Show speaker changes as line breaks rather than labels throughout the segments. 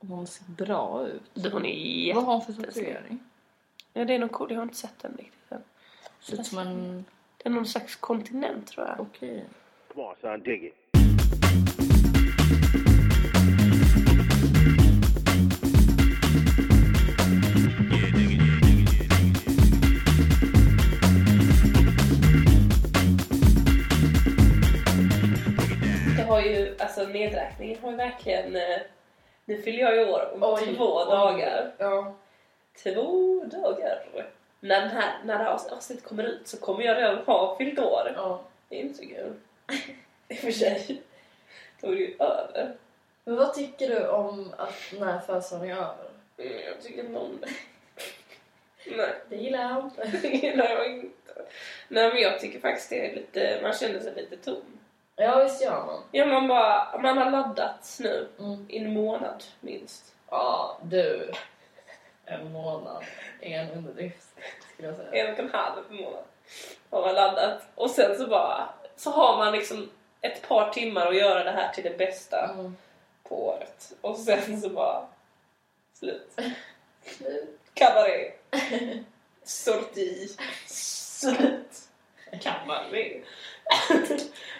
Hon ser bra ut.
Du, hon är
Vad
jätte...
har hon för tatuering?
Ja, det är någon cool. Jag har inte sett den riktigt än.
Ser ut som en...
Det är någon slags kontinent tror jag.
Okej.
Come on, son, dig it.
Det har ju, alltså nedräkningen har ju verkligen... eh, Nu fyller jag ju år om
Oj,
två
oj.
dagar.
Typ. Ja.
Två dagar! När, den här, när det här avsnittet kommer ut så kommer jag redan ha fyllt år.
ja.
Det är inte så kul. I och för sig. Då är det ju över.
Men vad tycker du om att när födelsedagen är över?
Mm, jag tycker inte om det. Nej,
Det gillar jag inte.
det gillar jag inte. Nej, men jag tycker faktiskt det är lite... Man känner sig lite tom.
Ja, visst gör man.
Ja, man bara... Man har laddats nu.
Mm.
I en månad, minst.
Ja, du. En månad är en underdrift, skulle jag säga.
en och en halv månad har man landat. Och sen så bara så har man liksom ett par timmar att göra det här till det bästa
Mm.
på året. Och sen så bara slut.
Slut.
Kabaré. Sorti. Slut. Kabaré.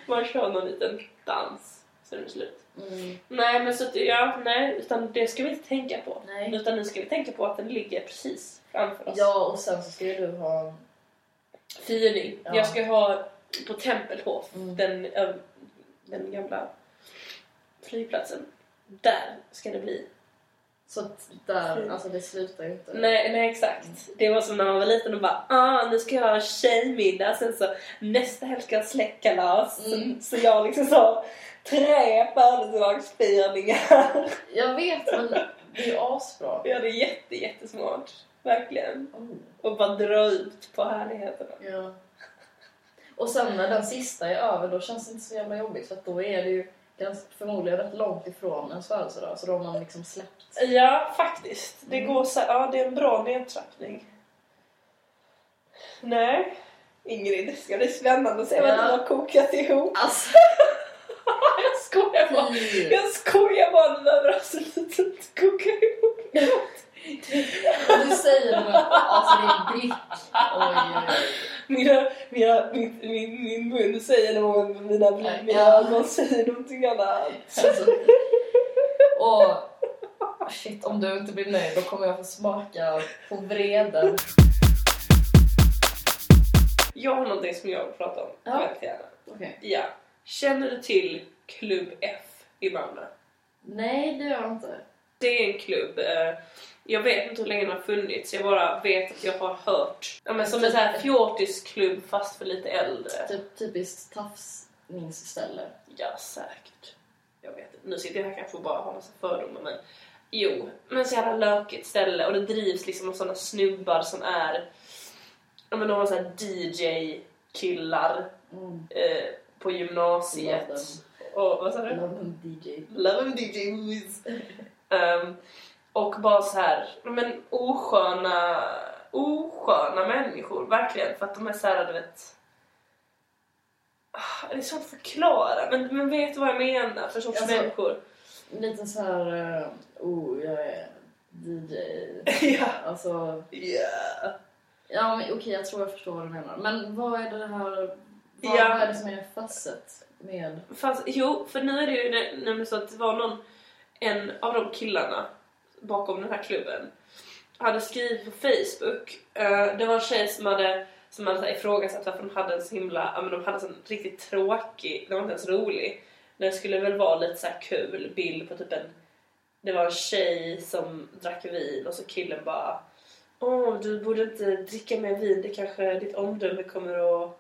man kör någon liten dans. Sen är det slut.
Mm.
Nej men så att, ja, nej, utan det ska vi inte tänka på.
Nej.
Utan nu ska vi tänka på att den ligger precis framför oss.
Ja, och sen så ska ju du ha...
Firning.
Ja.
Jag ska ha på Tempelhof,
Mm.
den, ö, den gamla flygplatsen. Där ska det bli.
Så att där, alltså det slutar ju inte.
Nej, nej exakt.
Mm.
Det var som när man var liten och bara ah, nu ska jag ha tjejmiddag. Sen så nästa helg ska jag ha släktkalas.
Mm.
Så, så jag liksom så tre födelsedagsfirningar.
Jag vet, men det är ju asbra.
ja, det är jätte, jättesmart. Verkligen.
Oh.
Och bara dra ut på härligheterna.
Ja. Och sen när den sista är över då känns det inte så jävla jobbigt för att då är det ju ganska, förmodligen rätt långt ifrån ens födelsedag så då har man liksom släppt.
Ja, faktiskt. Det
Mm.
går så Ja, det är en bra nedtrappning. Nej. Ingrid, det ska bli spännande att se vad
Ja.
du har kokat ihop.
Alltså
Jag skojar bara.
fy!
Jag skojar bara. Du behöver absolut inte koka ihop.
Du säger det men alltså det är brick. Oj, oj,
Mina, mina, min, min, min mun säger något, men mina, mina
Ja.
ögon säger någonting annat.
oj. Alltså. Och shit om du inte blir nöjd då kommer jag få smaka på vreden.
Jag har någonting som jag vill prata om.
Ja.
Väldigt gärna.
Okej.
Ja. Känner du till Klubb F i Malmö?
Nej det gör jag inte.
Det är en klubb. eh, Jag vet inte hur länge den har funnits. Jag bara vet att jag har hört. Ja, men som en sån här fjortisklubb fast för lite äldre.
Typ, typiskt tafsningsställe.
Ja, säkert. Jag vet inte. Nu sitter jag här kanske och bara har massa fördomar men... Jo, men så jävla lökigt ställe och det drivs liksom av såna snubbar som är... Ja men de var såhär DJ-killar
Mm.
eh, på gymnasiet.
Love
Och vad sa du?
Love and DJ.
Love and DJs. Ehm, och bara så här, men osköna, osköna människor, verkligen. För att de är så här, du vet... Ah, Det är svårt att förklara, men, men vet du vad jag menar för sorts
Alltså-
människor?
Lite så här... eh, oh, jag är DJ.
ja.
Alltså...
Yeah.
Ja, men okej, jag tror jag förstår vad du menar. Men vad är det här... Vad,
Ja.
vad är det som är fasset med...
Fast, jo, för nu är det ju nä- nämligen så att det var någon, en av de killarna bakom den här klubben hade skrivit på Facebook, eh, det var en tjej som hade, som hade så här ifrågasatt varför de hade en så himla, ja men de hade en sån riktigt tråkig, den var inte ens rolig. Den skulle väl vara lite så här kul bild på typ en, det var en tjej som drack vin och så killen bara Åh, du borde inte dricka mer vin, det kanske ditt omdöme kommer att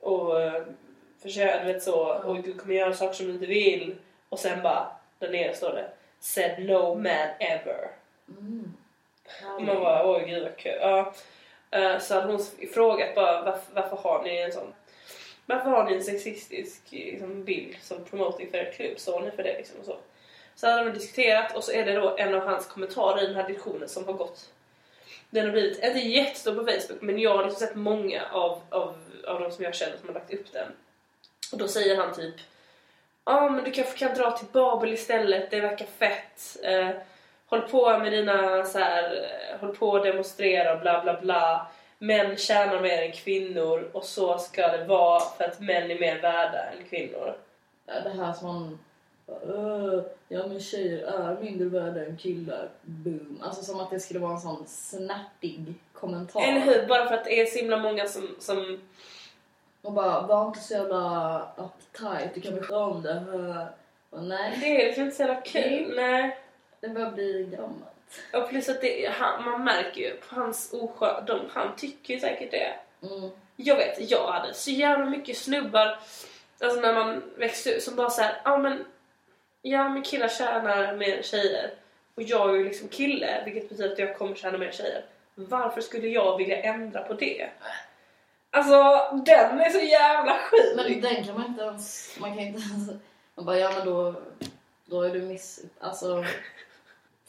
och eh, försöka, du vet så, och du kommer göra saker som du inte vill. Och sen bara, där nere står det Said no man ever.
Mm.
Och man bara, oj gud vad kul. Ja. Eh, Så hade hon frågat bara, varför, varför har ni en sån varför har ni en sexistisk liksom, bild som promoting för er klubb? Står ni för det liksom och så? Så hade de diskuterat och så är det då en av hans kommentarer i den här diskussionen som har gått den har blivit, inte jättestor på Facebook men jag har liksom sett många av, av, av de som jag känner som har lagt upp den. Och då säger han typ ah, men du kanske kan dra till Babel istället, det verkar fett. Eh, håll på med dina så här, eh, håll på och demonstrera bla bla bla. Män tjänar mer än kvinnor och så ska det vara för att män är mer värda än kvinnor.
Ja, Det här som man... "Öh, Ja men tjejer är mindre värda än killar. Boom. Alltså som att det skulle vara en sån snärtig kommentar.
Eller hur? Bara för att det är så himla många som, som
Och bara, var inte så jävla uptight, du kan bli skön om det. Öh. Och nej,
det är liksom inte så jävla kul.
Mm.
Nej.
det börjar bli gammalt.
Och plus att det, han, man märker ju på hans oskö... De, han tycker ju säkert det.
Mm.
Jag vet, jag hade så jävla mycket snubbar alltså när man växte upp som bara så här, ja men ja men killar tjänar mer än tjejer och jag är ju liksom kille vilket betyder att jag kommer tjäna mer än tjejer. Varför skulle jag vilja ändra på det? Alltså den är så jävla sjuk!
Men den kan man inte ens... Man kan inte ens... Man bara, ja men då... Då är du miss... Alltså...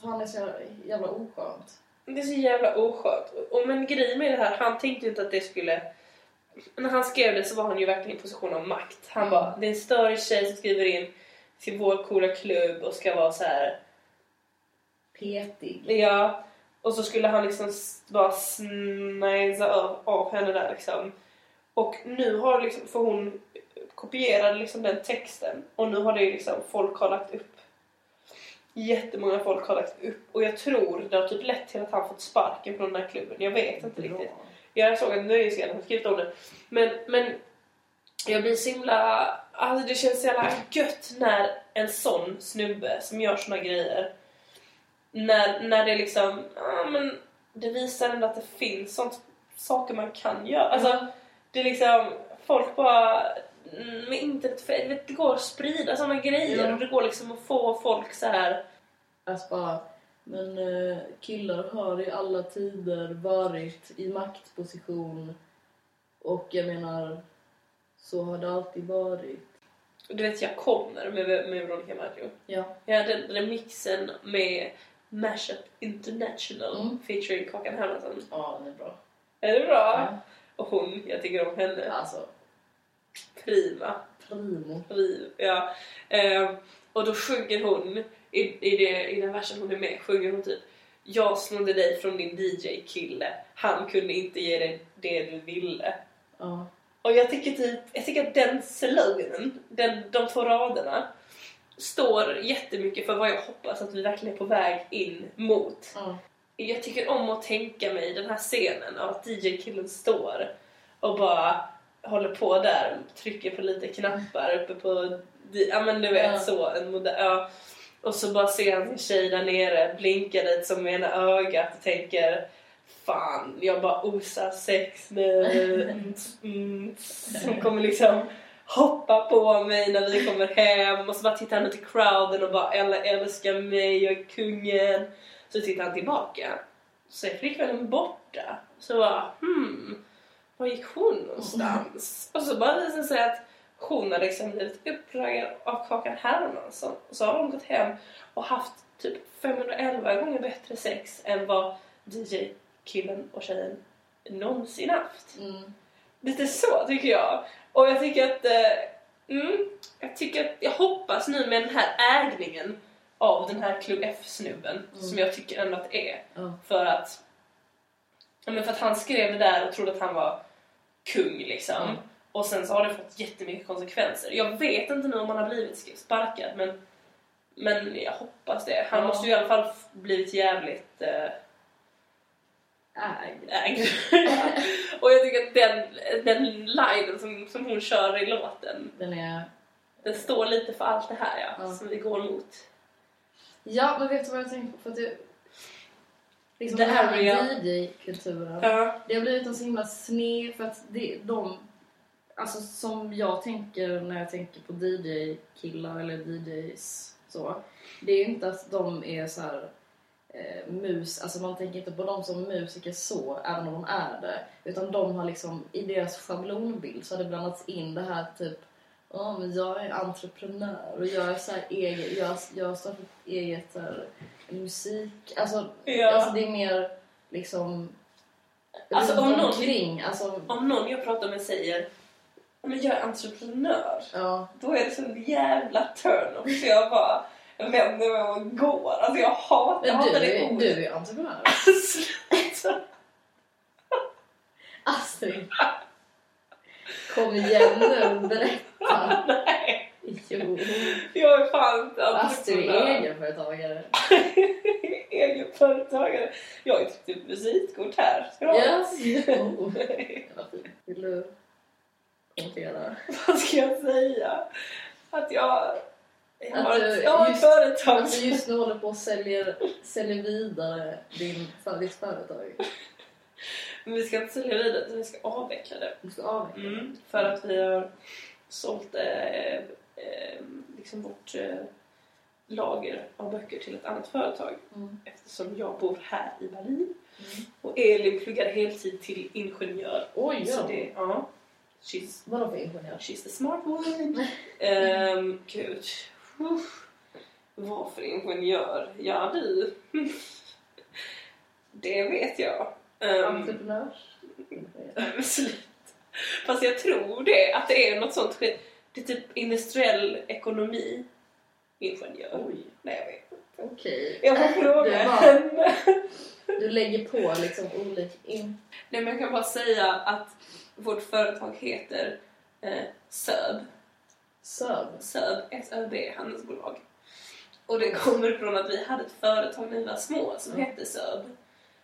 Fan, det är så jävla oskönt.
Det är så jävla oskönt. Och men grejen med det här, han tänkte ju inte att det skulle... När han skrev det så var han ju verkligen i en position av makt. Han bara, det är en större tjej som skriver in till vår coola klubb och ska vara så här.
Petig.
Ja. Och så skulle han liksom s- bara snajsa av, av henne där liksom. Och nu har liksom, för hon kopierade liksom den texten och nu har det ju liksom folk har lagt upp. Jättemånga folk har lagt upp och jag tror det har typ lett till att han fått sparken från den här klubben. Jag vet inte riktigt.
Bra.
Jag såg en nöjesgrej som skrivit om det. Men, men jag blir så himla... Alltså det känns så jävla gött när en sån snubbe som gör såna grejer. När, när det liksom... Ja men det visar ändå att det finns sånt, saker man kan
Mm.
göra. Alltså det är liksom... Folk bara... mm, Med internet, för- vet, det går att sprida såna grejer
Ja.
och det går liksom att få folk så här.
Alltså bara, men eh, killar har i alla tider varit i maktposition och jag menar, så har det alltid varit.
Du vet jag kommer med, med Veronica Maggio.
Ja.
Ja, den remixen med Mashup International
Mm.
featuring Kakan Hermansson.
Ja, det är bra.
Är det bra?
Ja.
Och hon, jag tycker om henne.
Alltså,
Prima.
primo.
Pri- Ja. Eh, och då sjunger hon, i, i, det, i den versen hon är med, sjunger hon typ Jag snodde dig från din DJ-kille. Han kunde inte ge dig det du ville.
Ja.
Och jag tycker typ, jag tycker att den sloganen, den, de två raderna, står jättemycket för vad jag hoppas att vi verkligen är på väg in mot.
ja.
Jag tycker om att tänka mig den här scenen av att DJ-killen står och bara håller på där, trycker på lite knappar uppe på... di- Ja men du vet
Ja.
så, en moder, ja. Och så bara ser han sin tjej där nere, blinkar dit som med ena ögat och tänker Fan, jag bara osar sex nu. Mm, mm, Som kommer liksom hoppa på mig när vi kommer hem och så bara tittar han ut i crowden och bara alla älskar mig, jag är kungen. Så tittar han tillbaka. Så är flickvännen borta. Så bara hmm, var gick hon någonstans? och så bara visar det sig att hon har liksom blivit uppraggad av Kakan Hermansson. Och så har hon gått hem och haft typ 511 gånger bättre sex än vad DJ-killen och tjejen någonsin haft.
Mm.
Lite så tycker jag. Och jag tycker att... Eh, mm, jag, tycker att jag hoppas nu med den här ägningen av den här Club F-snubben, som jag tycker ändå att det är.
Ja.
För att... Ja, men för att han skrev det där och trodde att han var kung liksom.
Mm.
Och sen så har det fått jättemycket konsekvenser. Jag vet inte nu om han har blivit sparkad men, men jag hoppas det. Han
Ja.
måste ju i alla fall f- blivit jävligt eh,
Äg.
ägd. och jag tycker att den, den linen som, som hon kör i låten,
Den är...
den står lite för allt det här ja,
Ja.
som vi går mot.
Ja, men vet du vad jag tänkte på? För att det... Liksom
Det
det här
här är
med DJ-kulturen.
Ja.
Det har blivit en så himla sned för att det, de, alltså som jag tänker när jag tänker på DJ-killar eller DJs så, det är ju inte att de är så här eh, mus, alltså man tänker inte på dem som musiker så, även om de är det, utan de har liksom, i deras schablonbild så har det blandats in det här typ Ja, men jag är entreprenör och jag är så här egen, jag, jag har startat eget så här, musik, alltså,
Ja.
alltså det är mer liksom
Alltså, om någon-
omkring, alltså
Om någon jag pratar med säger men jag är entreprenör.
Ja.
Då är det sån jävla turn-off så jag bara vänder mig och går. Alltså jag hatar, jag
Men du,
hatar det
är-
ordet.
du är entreprenör.
Sluta.
Astrid. Kom igen nu, berätta.
Nej,
Jo.
jag är fan inte
Astrid är
entreprenör.
egenföretagare.
egenföretagare. Jag har ju typ ett visitkort här. Ska du ha?
Yes. Oh, det var fint. Vill du kommentera?
Vad ska jag säga? Att jag, jag
Att
har
du-
ett, jag har ett
just-
företag.
Att du Alltså, just nu håller på och säljer, säljer vidare din, för ditt företag.
Men vi ska inte sälja vidare utan vi ska avveckla det.
Du ska avveckla.
Mm, för att vi har sålt eh, eh, liksom vårt eh, lager av böcker till ett annat företag.
Mm.
Eftersom jag bor här i Berlin.
Mm.
Och Elin pluggar heltid till ingenjör.
Oj,
Så
ja.
det, ja. She's
Vadå för ingenjör?
She's the smart woman. Ehm, gud. Uff. Vad för ingenjör? Ja, du. Det vet jag. Um,
Entreprenörs?
fast jag tror det, att det är något sånt skit. Det är typ industriell ekonomi. Ingenjör.
Oj,
Nej, jag vet.
okej.
Jag får fråga
Äh, Det var-
henne.
Du lägger på liksom olika... In...
Nej, men jag kan bara säga att vårt företag heter eh, Söb.
Söv.
SÖB, SÖB handelsbolag. Och det kommer från att vi hade ett företag när vi var små som
Mm.
hette SÖB.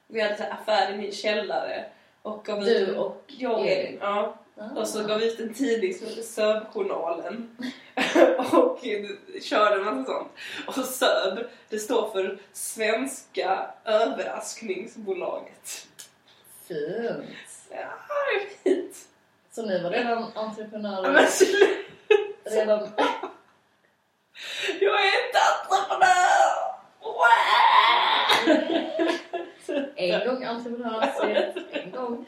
Vi hade så här affär i min källare. Och gav ut,
Du och...
jag och Elin. Ja.
Ah.
Och så gav vi ut en tidning som hette SÖB-journalen. och körde en massa sånt. Och SÖB, det står för Svenska överraskningsbolaget.
Fint.
Ja, det är fint!
Så ni var redan
Ja, men
entreprenörer?
sluta.
Redan...
Jag är inte entreprenör! Wow!
En gång entreprenör, Astrid. en gång.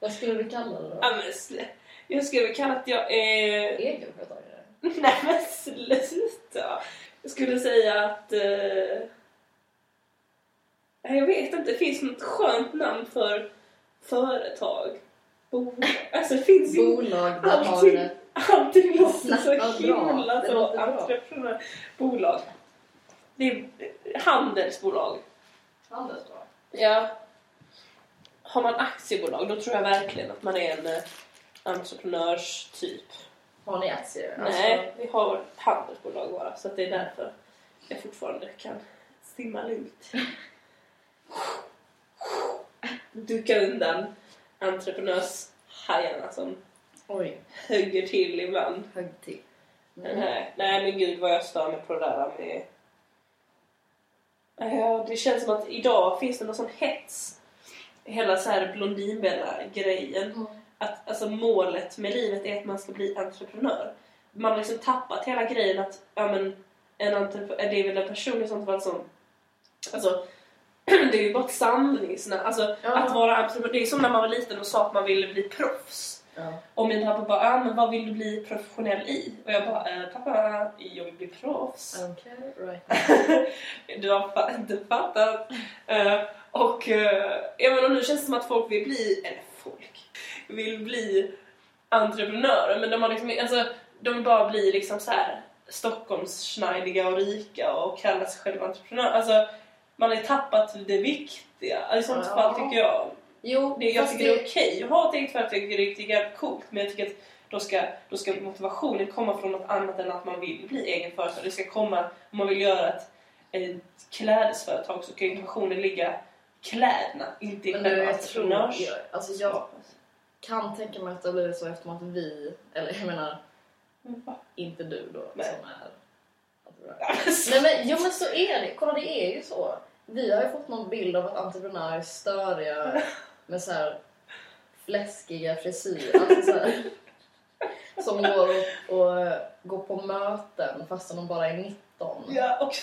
Vad skulle du kalla det
Ja,
då?
men sl- jag skulle väl kalla att jag är...
Egenföretagare?
Nej men sluta! Jag skulle säga att... Eh... nej, Jag vet inte, det finns något skönt namn för företag. Bolag. Alltså det finns ju...
Bolag, där har
Allting.
vi det.
Allting låter så
Snacka bra.
himla
Det
så
låter bra.
entreprenör... Bolag. Det är eh, handelsbolag.
Handelsbolag.
Ja. Har man aktiebolag då tror jag verkligen att man är en eh, entreprenörstyp.
Har ni aktier? Alltså,
Nej, vi har handelsbolag bara så att det är därför jag fortfarande kan simma lugnt. Ducka undan entreprenörshajarna som
Oj,
högger till ibland.
högg till. Mm.
Nej, nej men gud vad jag stör mig på det där med... Ja, det känns som att idag finns det någon sån hets. Hela så här Blondinbella-grejen.
Mm.
Att alltså, målet med livet är att man ska bli entreprenör. Man har liksom tappat hela grejen att ja, men, en entrep- det är väl en person i sånt fall som... Alltså, det är ju bara ett samlingsnamn. Alltså,
Ja.
att vara entreprenör. Det är som när man var liten och sa att man ville bli proffs.
Ja.
Och min pappa bara, ah, men vad vill du bli professionell i? Och jag bara, eh, pappa, jag vill bli proffs.
Okej, right.
du har fa- inte fattat. Eh, och eh, jag menar, nu känns det som att folk vill bli, eller folk, vill bli entreprenörer. Men de har liksom, alltså, de vill bara bli liksom så här Stockholmsschneidiga och rika och kalla sig själva entreprenörer. Alltså, man har tappat det viktiga. Alltså, I sånt
Ja.
fall tycker jag
Jo,
det, jag
fast
tycker det är okej att ha ett eget företag, jag tycker det är jävligt coolt men jag tycker att då ska, då ska motivationen komma från något annat än att man vill bli egen företagare. Det ska komma, om man vill göra ett, ett klädesföretag så kan ju motivationen ligga i kläderna, inte i
Men du,
själva
jag tror...
entreprenörskapet.
Jag, alltså jag kan tänka mig att det har blivit så eftersom att vi, eller jag menar inte du då,
Nej.
som är entreprenör. Nej men, jo men så är det. Kolla det är ju så. Vi har ju fått någon bild av att entreprenörer är störiga med så här fläskiga frisyrer. Alltså så här, som går och, och eh, går på möten fastän de bara är 19.
Ja, och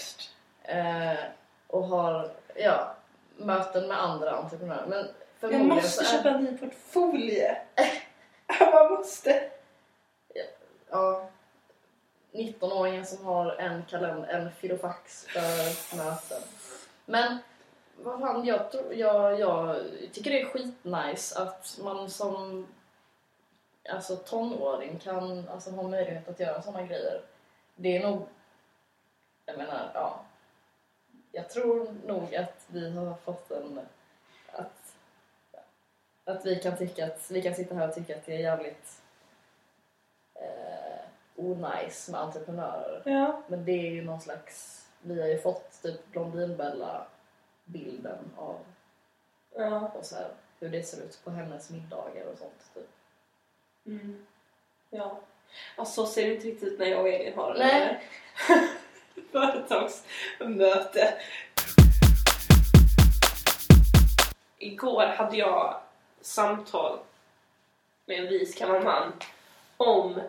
Eh, och har ja, möten med andra entreprenörer. Men
jag
förmodligen
måste
så är
köpa en ny portfolie! Man måste!
ja, 19-åringen som har en kalender, en filofax för möten. Men vad fan, jag, tror- jag, jag tycker det är skitnice att man som alltså, tonåring kan alltså, ha möjlighet att göra sådana grejer. Det är nog, jag menar, ja. Jag tror nog att vi har fått en, att, att vi kan tycka att, vi kan sitta här och tycka att det är jävligt eh, onajs med entreprenörer.
Ja.
Men det är ju någon slags... Vi har ju fått typ Blondinbella-bilden av
ja.
och så här, hur det ser ut på hennes middagar och sånt. Typ.
Mm. Ja. Ja, så ser det inte riktigt ut när jag och Elin har
Nej.
det företagsmöte. Igår hade jag samtal med en vis gammal man om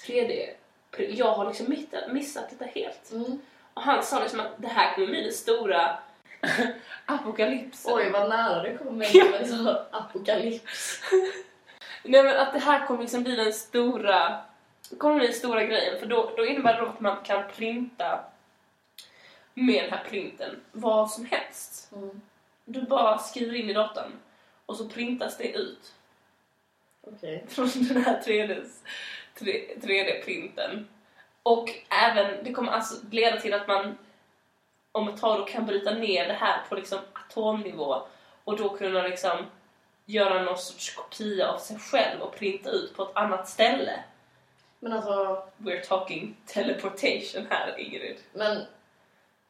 3D. Jag har liksom mitt- missat detta helt.
Mm.
Och han sa liksom att det här kommer bli den stora apokalypsen.
Oj, vad nära du kom med med så apokalyps.
Nej men att det här kommer liksom bli den stora det kommer bli den stora grejen för då, då innebär det att man kan printa med den här printen vad som helst.
Mm.
Du bara skriver in i datorn och så printas det ut
Okej.
från den här 3Ds 3- 3D-printen. Och även, det kommer alltså leda till att man om ett tag då kan bryta ner det här på liksom atomnivå och då kunna liksom göra någon sorts kopia av sig själv och printa ut på ett annat ställe.
Men alltså,
We're talking teleportation här Ingrid.
men...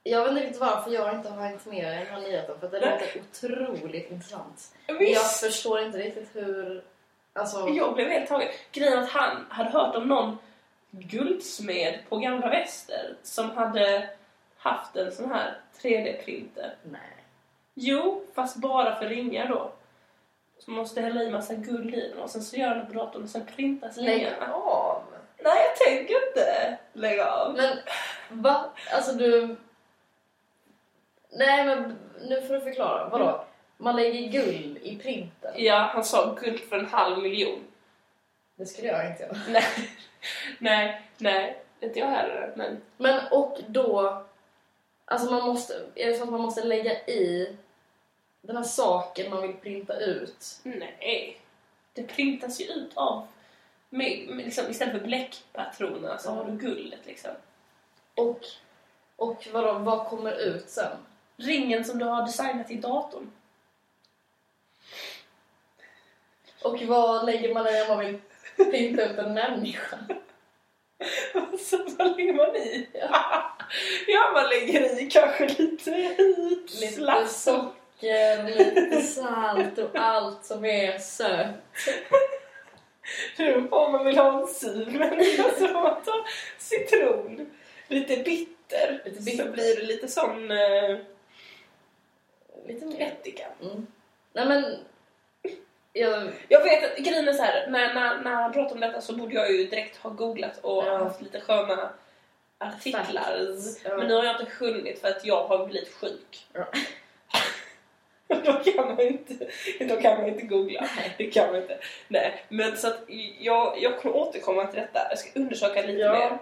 Jag vet inte riktigt varför jag inte har hängt med i den här nyheten för att det
Nej.
låter otroligt intressant. Jag
Visst!
förstår inte riktigt hur... Alltså...
Jag blev helt tagen. Grejen att han hade hört om någon guldsmed på Gamla Väster som hade haft en sån här 3D-printer.
Nej.
Jo, fast bara för ringar då. Så man måste hälla i massa guld i den och sen så gör han det på datorn och sen printas
Lägg
ringarna.
av!
Nej, jag tänker inte lägga av.
Men va? Alltså du... Nej men nu får du förklara. Vadå? Man lägger guld i printen.
Ja, han sa guld för en halv miljon.
Det skulle jag inte göra.
Nej, nej, nej. Inte jag heller, men
Men och då... Alltså man måste... Är det så att man måste lägga i den här saken man vill printa ut?
Nej, det printas ju ut av... Med, med, liksom, istället för bläckpatroner så har du guldet liksom.
Och, och vadå, vad kommer ut sen?
Ringen som du har designat i datorn.
Och vad lägger man i om man vill printa ut en människa?
så vad lägger man i? ja, man lägger i kanske lite hit,
Lite socker, lite salt och allt som är sött.
Du, om man vill ha en sur människa så får man ta citron. Lite bitter.
Lite
Så
bitter.
blir det lite sån eh,
Lite mer.
ättika.
Mm. Nej men... Jag,
Jag vet att grejen är så här, när, när, när han pratade om detta så borde jag ju direkt ha googlat och
Ja.
haft lite sköna artiklar.
Ja.
Men nu har jag inte hunnit för att jag har blivit sjuk.
Ja.
då, kan man inte, då kan man inte googla. Det kan man inte. Nej, men så att jag, jag kommer återkomma till detta. Jag ska undersöka lite
Ja.
mer.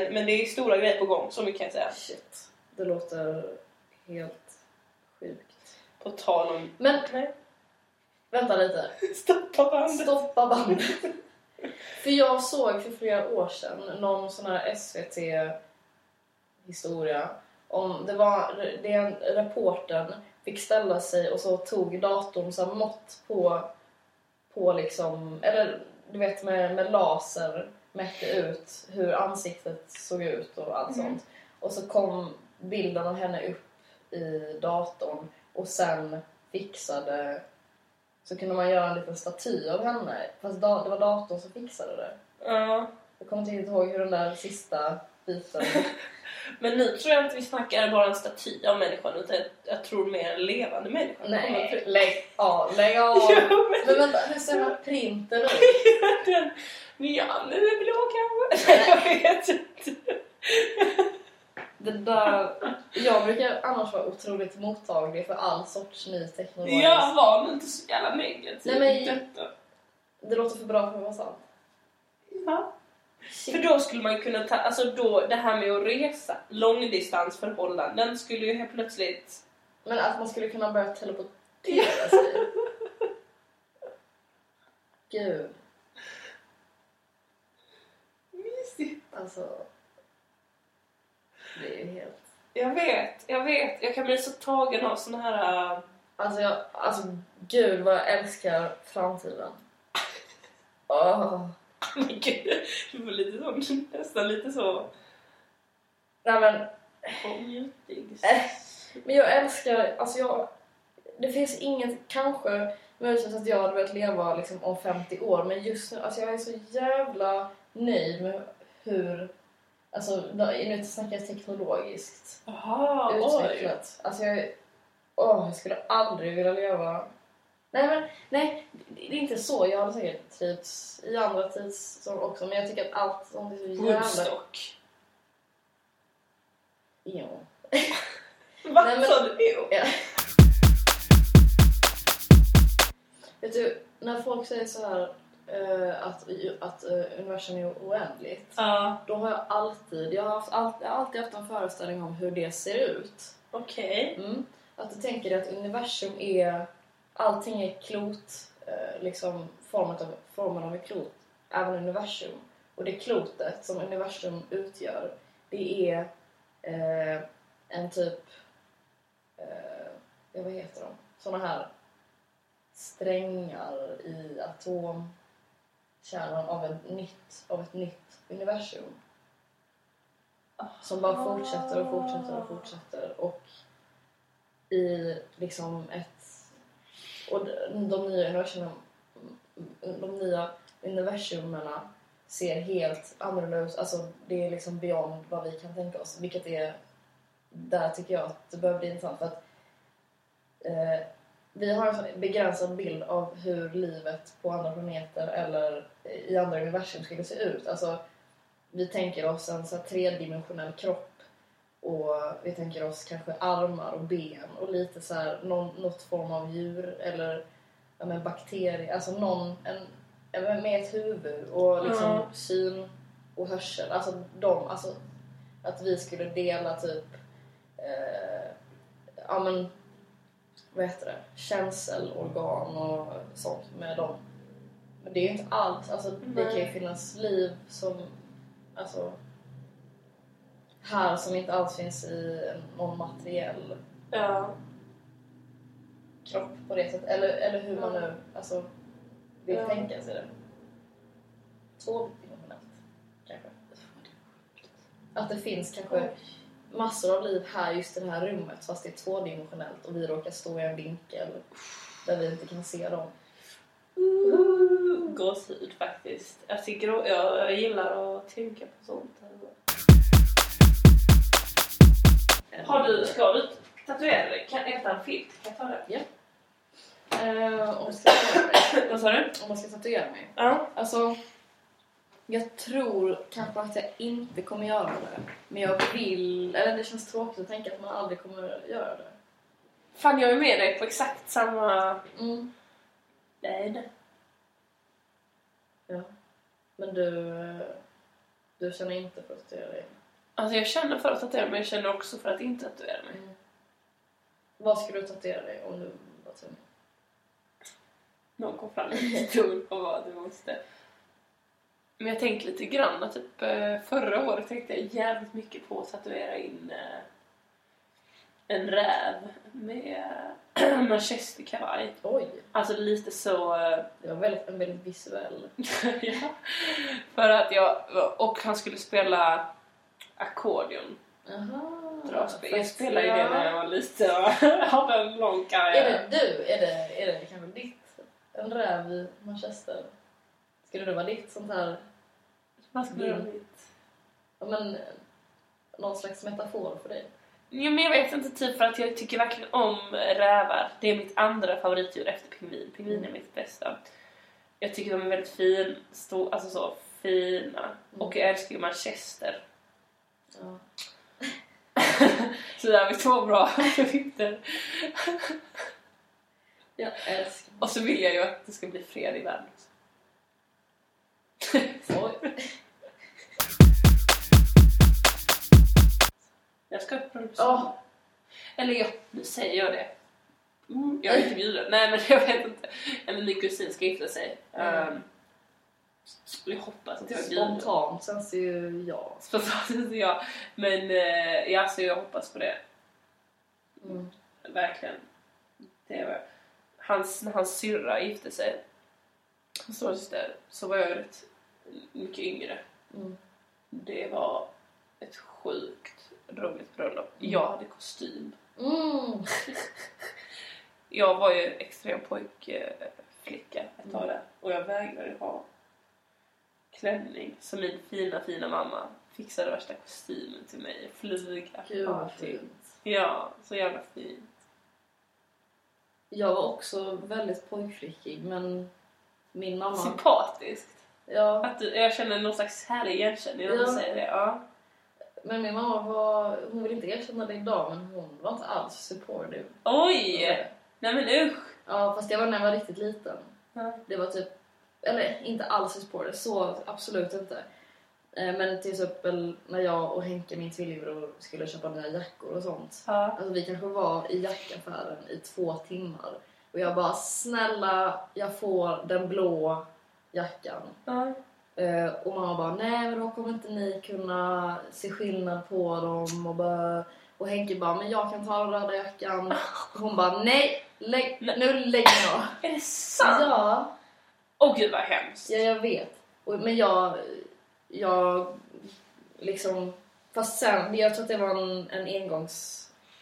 Men, men det är stora grejer på gång, så mycket kan jag säga.
shit. Det låter helt sjukt.
På tal om...
Men
Nej,
vänta lite.
stoppa bandet!
Stoppa bandet. för jag såg för flera år sedan någon sån här SVT-historia om det var den reportern fick ställa sig och så tog datorn så här mått på på liksom, eller du vet med, med laser mätte ut hur ansiktet såg ut och allt
Mm.
sånt. Och så kom bilden av henne upp i datorn och sen fixade så kunde man göra en liten staty av henne fast da, det var datorn som fixade det.
Ja.
Jag kommer inte riktigt ihåg hur den där sista biten...
Men nu tror jag inte vi snackar bara en staty av människan utan jag, jag tror mer en levande människa.
Nej, lägg av, lägg av!
Ja,
Men vänta, hur ser den här printen ut?
Den, ja, nu är blå kanske. Nej, jag vet inte.
Det där, jag brukar annars vara otroligt mottaglig för all sorts ny teknologi.
Jag var nog inte så jävla negativ.
Nej, men-
i detta.
Det låter för bra för att vara sant.
Ja. För då skulle man ju kunna ta, alltså då det här med att resa, långdistansförhållanden skulle ju helt plötsligt
Men att man skulle kunna börja teleportera sig. Gud,
Mysigt.
alltså. Det är helt...
Jag vet, jag vet. Jag kan bli så tagen av såna här... äh,
Alltså, jag, alltså gud vad jag älskar framtiden. Åh.
Men gud, du var lite sån, nästan lite så...
Nej men,
åh, mjutig.
Äh. men jag älskar, alltså jag... Det finns inget, kanske möjligtvis att jag hade velat leva liksom om 50 år men just nu, alltså jag är så jävla nöjd med hur... Alltså, då- nu snackar jag teknologiskt.
Jaha, oj.
utvecklat. Alltså jag, åh, jag skulle aldrig vilja leva... Nej, men, nej, det är inte så. Jag hade säkert trivts i andra tids också, men jag tycker att allt som det är så jävla...
Woodstock.
Jo. Nej,
Vad
men-
sa du? Jo.
Ja. Vet du, när folk säger så här eh, att, att eh, universum är oändligt,
Ja,
då har jag alltid, jag har, haft, allt- jag har alltid haft en föreställning om hur det ser ut.
okej.
Mm. Att du tänker dig att universum är... Allting är klot, eh, liksom formen av, formen av ett klot, även universum. Och det klotet som universum utgör, det är eh, en typ... Eh, ja, vad heter de? Såna här strängar i atomkärnan av ett nytt, av ett nytt universum. Som bara fortsätter och fortsätter och fortsätter. Och i liksom ett... Och de- de nya universum, de nya universumerna ser helt annorlunda ut. Alltså det är liksom beyond vad vi kan tänka oss. Vilket är... Där tycker jag att det börjar bli intressant. För att, eh, vi har en sån begränsad bild av hur livet på andra planeter eller i andra universum skulle se ut. Alltså, vi tänker oss en så här tredimensionell kropp och vi tänker oss kanske armar och ben och lite så här någon, något form av djur eller ja, men bakterier, alltså någon en, ja, men med ett huvud och liksom
Ja.
syn och hörsel. Alltså de, alltså att vi skulle dela typ eh, ja men vad heter det, känselorgan och sånt med dem. Men det är ju inte alls, alltså det
Nej.
kan ju finnas liv som, alltså här som inte alls finns i någon materiell
Ja.
kropp på det sättet. Eller, eller hur man
Ja.
nu alltså, vill
Ja.
tänka sig det. Tvådimensionellt, kanske. Att det finns kanske massor av liv här just i det här rummet fast det är tvådimensionellt och vi råkar stå i en vinkel där vi inte kan se dem.
Uh, Gåshud faktiskt. Jag, tycker, jag, jag gillar att tänka på sånt. Har du, ska du tatuera dig? Kan jag ta en filt? Kan jag ta det?
Eh, om, jag ska,
Vad sa du?
om jag ska tatuera mig?
Ja.
Alltså, jag tror kanske att jag inte kommer göra det. Men jag vill... Eller det känns tråkigt att tänka att man aldrig kommer göra det.
Fan, jag är med dig på exakt samma...
Mm.
Nej.
Ja. Men du... eh, Du känner inte för att göra det?
Alltså jag känner för att tatuera mig, jag känner också för att inte tatuera mig.
Mm. Vad skulle du tatuera dig om du var tvungen?
Någon kom fram med en stol och bara du måste. Men jag tänkte lite grann att typ eh, förra året tänkte jag jävligt mycket på att tatuera in eh, en räv med eh, manchesterkavaj.
Oj!
Alltså lite så... eh,
Det var väldigt, en väldigt visuell...
ja. För att jag... Och han skulle spela ackordion.
Aha,
Dragspel. Jag
fast-
spelade ju det när jag var liten och hade en lång
Är
karriär.
det du? Är det, är det kanske ditt? En räv i Manchester? Skulle det vara ditt sånt här
Vad skulle det
Mm.
vara?
Ja, men, eh, någon slags metafor för dig.
Ja, men jag vet inte, typ för att jag tycker verkligen om rävar. Det är mitt andra favoritdjur efter pingvin. Pingvin är mitt bästa. Jag tycker de är väldigt fin, stor, alltså så fina. Och jag älskar ju manchester.
Ja.
så där har vi två bra produkter.
Jag älskar
Och så vill jag ju att det ska bli fred i världen.
Oj.
jag ska upp på
Ja.
Eller jag, nu säger jag det. Mm, jag är inte bjuden. Nej men jag vet inte. Nej, men min kusin ska gifta sig.
Mm.
Um, jag hoppas att jag är bjuden.
Spontant känns det ju ja.
Spontant inte jag. Men eh, ja, så jag hoppas på det.
Mm.
Verkligen. Det var. Hans, när hans syrra gifte sig, hans syster, så var jag rätt mycket yngre.
Mm.
Det var ett sjukt roligt bröllop. Jag hade kostym.
Mm.
Jag var ju extrem pojkflicka ett
Mm.
tag där och jag vägrade ha klänning. Så min fina, fina mamma fixade värsta kostymen till mig. Flyga,
Gud vad
allting.
fint.
Ja, så jävla fint.
Jag var också väldigt pojkflickig men min mamma...
Sympatiskt.
Ja,
Att du, jag känner någon slags härlig igenkänning när du
Ja.
säger det. Ja.
men min mamma var... Hon vill inte erkänna det idag men hon var inte alls supportive.
Oj! Nej men usch!
Ja, fast det var när jag var riktigt liten.
Ja.
Det var typ... Eller inte alls supportive, så absolut inte. Eh, Men till exempel när jag och Henke, min tvillingbror, skulle köpa nya jackor och sånt.
Ja.
Alltså vi kanske var i jackaffären i två timmar. Och jag bara snälla jag får den blå jackan.
Ja.
Eh, och mamma bara nej men då kommer inte ni kunna se skillnad på dem. Och, bara, och Henke bara men jag kan ta den röda jackan. Och hon bara nej lägg,
Nej.
nu lägger jag.
Är det sant? Åh
Ja,
gud vad hemskt!
ja jag vet. Och, men jag, jag liksom Fast sen, jag tror att det var en, en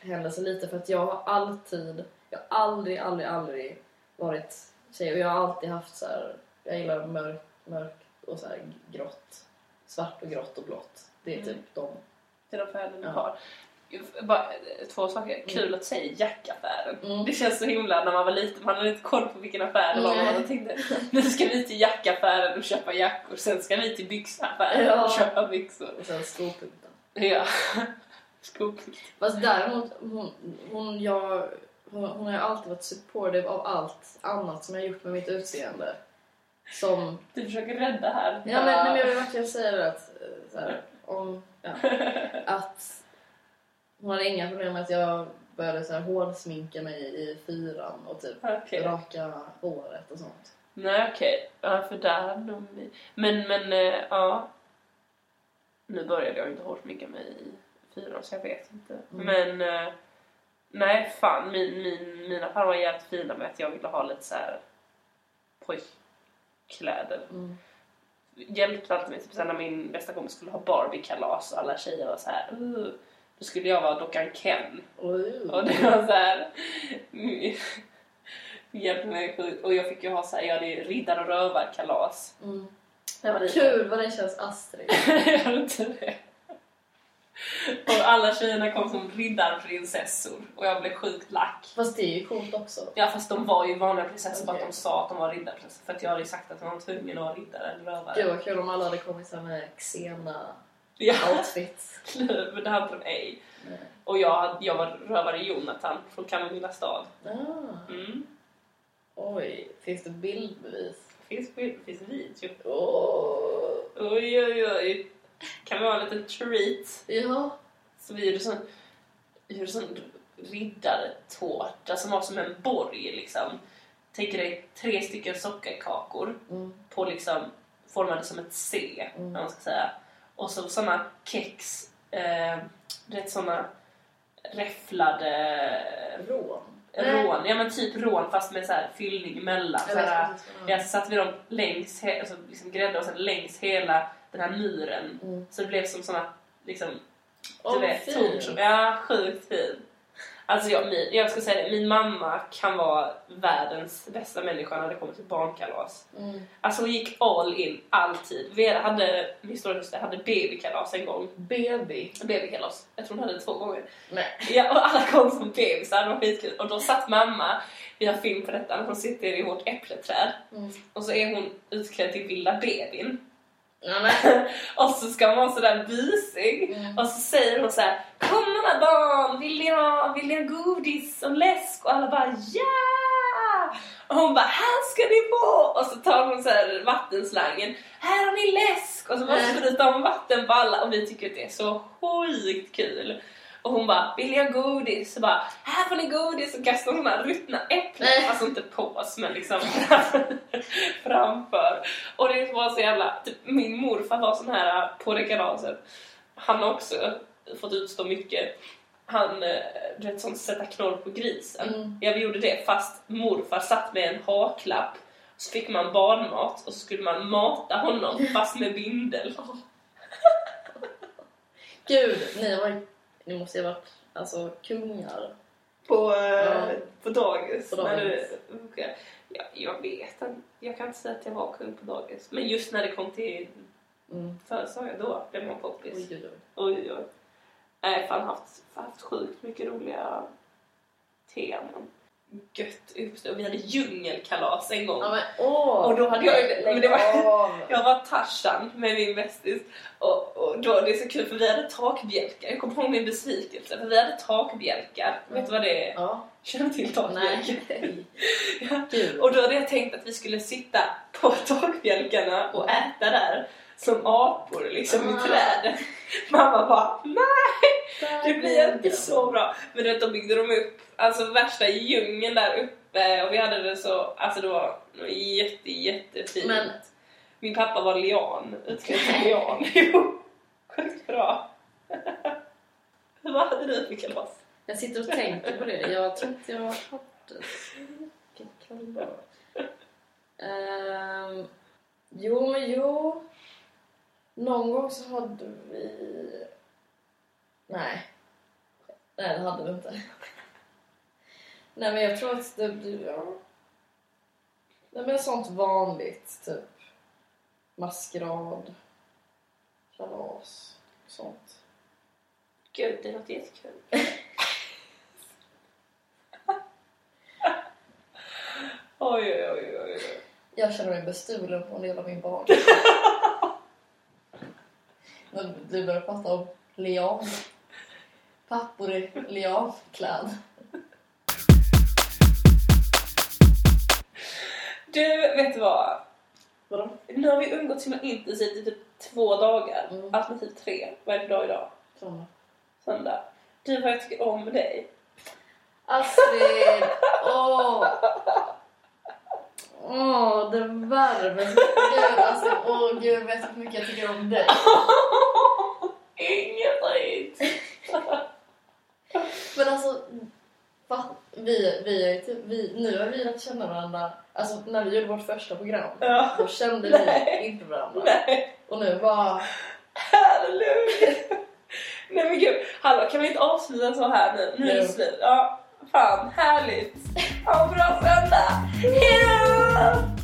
engångshändelse lite för att jag har alltid, jag har aldrig, aldrig, aldrig varit tjej och jag har alltid haft så här, jag gillar mörk, mörkt och så här grått, svart och grått och blått. Det är
Mm.
typ de.
Till de föräldrarna
Ja.
har. Bara, eh, två saker. Kul att säga jackaffären.
Mm.
Det känns så himla när man var liten, man hade inte koll på vilken affär det var.
Nej.
Man tänkte nu ska vi till jackaffären och köpa jackor, sen ska vi till byxaffären
Ja.
och köpa byxor.
Och sen skopunkten.
Ja. Skopigt.
Fast däremot, hon, hon, jag, hon, hon har ju alltid varit supportive av allt annat som jag har gjort med mitt utseende. Som
Du försöker rädda här.
Ja, men, men jag vill verkligen säga det att, eh, så här, om, ja, att hon hade inga problem med att jag började så här, hårsminka mig i fyran och typ
Okej.
raka håret och sånt.
Nej okej, ja, för där hade de... Men, men, eh, ja. Nu började jag inte hårdsminka mig i fyran så jag vet inte.
Mm.
Men, eh, nej fan, min, min, mina föräldrar var jävligt fina med att jag ville ha lite så här pojkkläder.
Mm.
Hjälpte alltid mig, typ såhär när min bästa kompis skulle ha Barbie-kalas och alla tjejer var så här. Uh, då skulle jag vara dockan Ken.
Oj.
Och det var så här. Hjälpte mig sjukt. Och jag fick ju ha så här, jag hade ju riddar och rövarkalas.
Mm.
Jag var liten.
Kul vad det känns Astrid.
jag vet inte det. Och alla tjejerna kom som riddarprinsessor och jag blev sjukt lack.
Fast det är ju coolt också.
Ja fast de var ju vanliga prinsessor bara att de
Okej.
sa att de var riddarprinsessor för att jag hade ju sagt att de var tvungna att vara riddare eller rövare.
Gud vad kul om alla hade kommit så här med Xena
Ja,
outfits.
men det hade de ej.
Nej.
Och jag, jag var rövare Jonathan från Kamomilla stad.
Ah,
Mm.
oj, finns det bildbevis?
Finns, finns video.
Åh.
Oj oj oj. Kan vi ha en liten treat?
Ja,
Så vi gjorde sån, vi gjorde sån riddartårta som var som en borg liksom. Tänk dig tre stycken sockerkakor
mm.
på liksom formade som ett C,
Mm.
om man ska säga. Och så såna kex, eh, rätt såna räfflade
rån. Mm.
rån, ja men typ rån fast med så här fyllning mellan.
Jag
Så här,
vet precis vad det
ja,
är.
så satte vi dem längs, he- alltså, liksom grädde och sen längs hela den här muren.
Mm.
Så det blev som såna liksom
Åh,
du
vad
vet,
fint.
torn som... Ja, sjukt fin. Alltså jag, min, jag ska säga det, min mamma kan vara världens bästa människa när det kommer till barnkalas.
Mm.
Alltså hon gick all in, alltid. Vera hade, min stora syster hade babykalas en gång.
Baby.
Babykalas, jag tror hon hade det två gånger.
Nej.
Ja, och alla kom som bebisar, det var skitkul. Och då satt mamma, vi har film på detta, men hon sitter i vårt äppleträd.
Mm.
Och så är hon utklädd till vilda babyn.
Nej, nej.
Och så ska man vara sådär busig.
Mm.
Och så säger hon så här: Kom alla barn, vill ni, ha, vill ni ha godis och läsk? Och alla bara ja! Och hon bara här ska ni få! Och så tar hon så här vattenslangen. Här har ni läsk! Och så bara
Nej.
sprutar hon vatten på alla och vi tycker att det är så sjukt kul. Och hon bara, vill jag godis? Så bara, här får ni godis! Och kastar de här ruttna äpplen,
Nej.
alltså inte på oss men liksom framför. Och det var så jävla, typ, min morfar var sån här äh, på det kalaset. Han har också fått utstå mycket. Han, äh, du vet sånt sätta knorr på grisen.
Mm.
Ja, vi gjorde det fast morfar satt med en haklapp så fick man barnmat och så skulle man mata honom fast med bindel.
Gud, ni, var, ju- ni måste ju ha varit alltså, kungar.
På, eh,
Ja.
på dagis.
På dagis.
När du, okej. ja, jag vet inte. Jag kan inte säga att jag var kung på dagis. Men just när det kom till
Mm.
födelsedagar då blev man
Oj,
poppis.
oj, oj.
Oj, oj, oj. Nej, fan haft, haft sjukt mycket roliga teman. Gött uppstå. Vi hade djungelkalas en gång.
Ja, men, åh,
Och då hade jag-
Lägg
men det var-
av.
Jag var Tarzan med min bästis och, och då det är så kul för vi hade takbjälkar. Jag kommer ihåg min besvikelse för vi hade takbjälkar. Vet du vad det är?
Ja,
Känner du till takbjälkar?
nej.
Ja.
Gud.
Och då hade jag tänkt att vi skulle sitta på takbjälkarna och äta där som apor liksom i
Ah.
trädet. Mamma bara nej det
Där
blir inte
den.
så bra. Men du vet, då byggde de upp alltså värsta djungeln där uppe och vi hade det så, alltså det var jätte jättefint.
Men-
Min pappa var lian, utklädd till lian. Jo, sjukt bra. Vad hade du för kalas?
Jag sitter och tänker på det. Jag tror inte jag har hört det. Vilken kan det vara? Ehm, jo, men jo. Någon gång så hade vi... Nej. Nej, det hade vi inte. Nej, men jag tror att det blir... Ja. Nej, men sånt vanligt. Typ maskerad, kalas, sånt.
Gud, det låter jättekul. oj, oj, oj, oj, oj.
Jag känner mig bestulen på en del av min barn. När du börjar prata om lian. Pappor i liankläd.
Du, vet du vad?
Vadå?
Nu har vi umgåtts himla intensivt i typ två dagar,
Mm.
alternativt tre. Vad är det dag idag?
Såna.
Söndag. Du, vad jag tycker om dig.
Astrid! Åh! Åh, det värmer så Gud, Astrid. Åh, gud, vet du hur mycket jag tycker om dig?
Ingenting!
Men alltså, va? Vi, vi är ju typ, vi, nu har vi lärt känna varandra. Alltså, när vi gjorde vårt första program,
Ja.
då kände
Nej.
vi inte varandra.
Nej,
Och nu bara...
halleluja! Nej men gud, hallå kan vi inte avsluta så här nu? Nu är det
Jo.
slut. Ja, fan härligt! Ha en bra söndag! Hejdå!